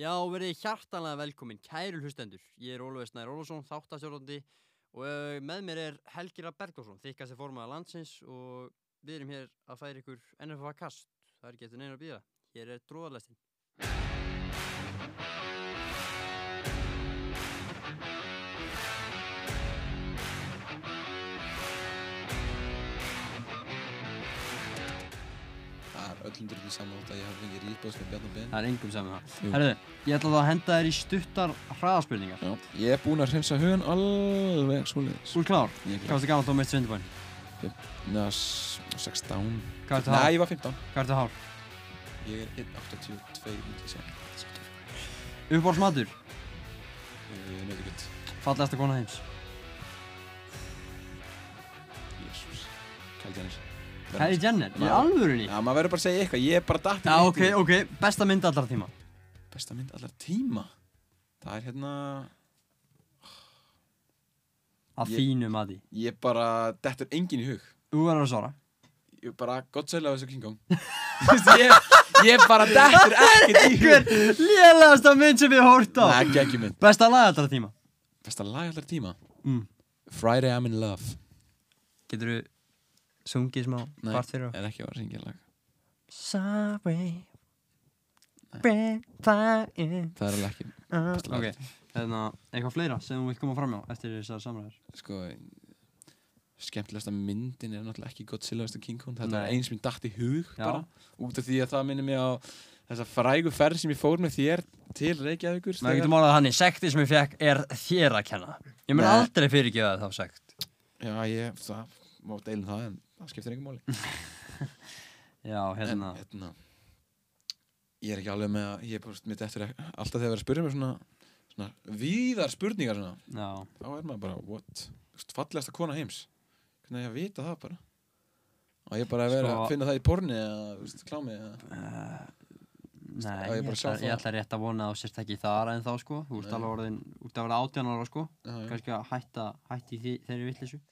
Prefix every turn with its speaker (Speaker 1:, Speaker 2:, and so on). Speaker 1: Já, verið hjartanlega velkomin, kæru hlustendur. Ég er Ólfur Snær Ólfsson, þáttastjórnandi og eh, með mér er Helgira Berglósson, þykast er formaða landsins og við erum hér að færa ykkur NFA kast. Það er getur neina að býða. Hér er dróðarlestin.
Speaker 2: Það er öllum drullið saman að ég hafi fengið rýðbóðs með Bjarnar Ben.
Speaker 1: Það er engum sem það.
Speaker 2: Jú.
Speaker 1: Herðu, ég ætla þá að henda þér í stuttar hraðaspurningar.
Speaker 2: Já, ég er búinn að hreinsa hugan alveg svoleiðis.
Speaker 1: Þú er klár.
Speaker 2: Ég er hérna
Speaker 1: Hvað ertu gammal þá mest svindubæn?
Speaker 2: Næ, 16.
Speaker 1: Hvað ertu
Speaker 2: Nei,
Speaker 1: hár?
Speaker 2: ég var 15.
Speaker 1: Hvað ertu hár?
Speaker 2: Ég er 182 mútið sér.
Speaker 1: Uppbórs matur,
Speaker 2: Nautikjöld.
Speaker 1: fallegasta kona heims.
Speaker 2: Jésús. Kæli Jannis.
Speaker 1: Kylie Jenner, í
Speaker 2: Já.
Speaker 1: alvörunni?
Speaker 2: Já, maður verður bara að segja eitthvað. Ég er bara datt í
Speaker 1: Já, ok,
Speaker 2: lítið.
Speaker 1: ok, besta mynd allra tíma.
Speaker 2: Besta mynd allar tíma. Það er hérna...
Speaker 1: Að
Speaker 2: Ég-
Speaker 1: þínu mati.
Speaker 2: Ég bara... Dettur engin í hug.
Speaker 1: Þú verður að svara.
Speaker 2: Ég er bara gott sæla á þessu King Kong. Þú veist, ég, ég bara dettur ekkert í hug.
Speaker 1: Hver lélegasta mynd sem ég hórt á?
Speaker 2: Nei, ekki ekki mynd.
Speaker 1: Besta lag allra tíma.
Speaker 2: Besta lag allar tíma.
Speaker 1: Mm.
Speaker 2: Friday I'm in love
Speaker 1: Getur þú sungið smá
Speaker 2: Nei.
Speaker 1: part fyrir okkur?
Speaker 2: Er ekki að vera að syngja lag
Speaker 1: Sorry Bring fire in
Speaker 2: Það er alveg ekki besta
Speaker 1: Ah,
Speaker 2: lag.
Speaker 1: Ok, hérna, eitthvað fleira sem þú vilt koma fram á eftir þessar samræður?
Speaker 2: Sko Skemmtilegasta myndin er náttúrulega ekki Godzilla vs. King Kong Þetta
Speaker 1: Nei.
Speaker 2: var eins minn datt í hug
Speaker 1: Já.
Speaker 2: bara Út af því að það minnir mig á Þessa frægu ferð sem ég fór með þér Til Reykjavíkur
Speaker 1: Maður
Speaker 2: þegar-
Speaker 1: getur málað þannig, sekti sem ég fekk er þér að kenna. Ég mun
Speaker 2: Nei.
Speaker 1: aldrei fyrirgefa þér þá sekt.
Speaker 2: Já, ég, það Má deilum það en það skiptir engum máli
Speaker 1: Já,
Speaker 2: En,
Speaker 1: hérna.
Speaker 2: hérna Ég er ekki alveg með að Ég er bara mitt eftir að Alltaf þegar verið að spyrja mig svona Svona víðar spurningar svona
Speaker 1: Já.
Speaker 2: þá er maður bara, what Þú veist, fallegasta kona heims hvernig á ég að vita það bara og ég bara að vera
Speaker 1: Sko-
Speaker 2: að finna það í porni eða þú veist, klámi eða
Speaker 1: Uh,
Speaker 2: Á
Speaker 1: nei,
Speaker 2: ég
Speaker 1: ég,
Speaker 2: bara að sjá
Speaker 1: ætla,
Speaker 2: það?
Speaker 1: ég ætla rétt að vona að þú sért ekki þar en þá sko. Þú ert
Speaker 2: Nei.
Speaker 1: alveg orðin, út að vera 18 ára sko.
Speaker 2: Já, já.
Speaker 1: kannski að hætta, hætta í því, þeirri vitleysu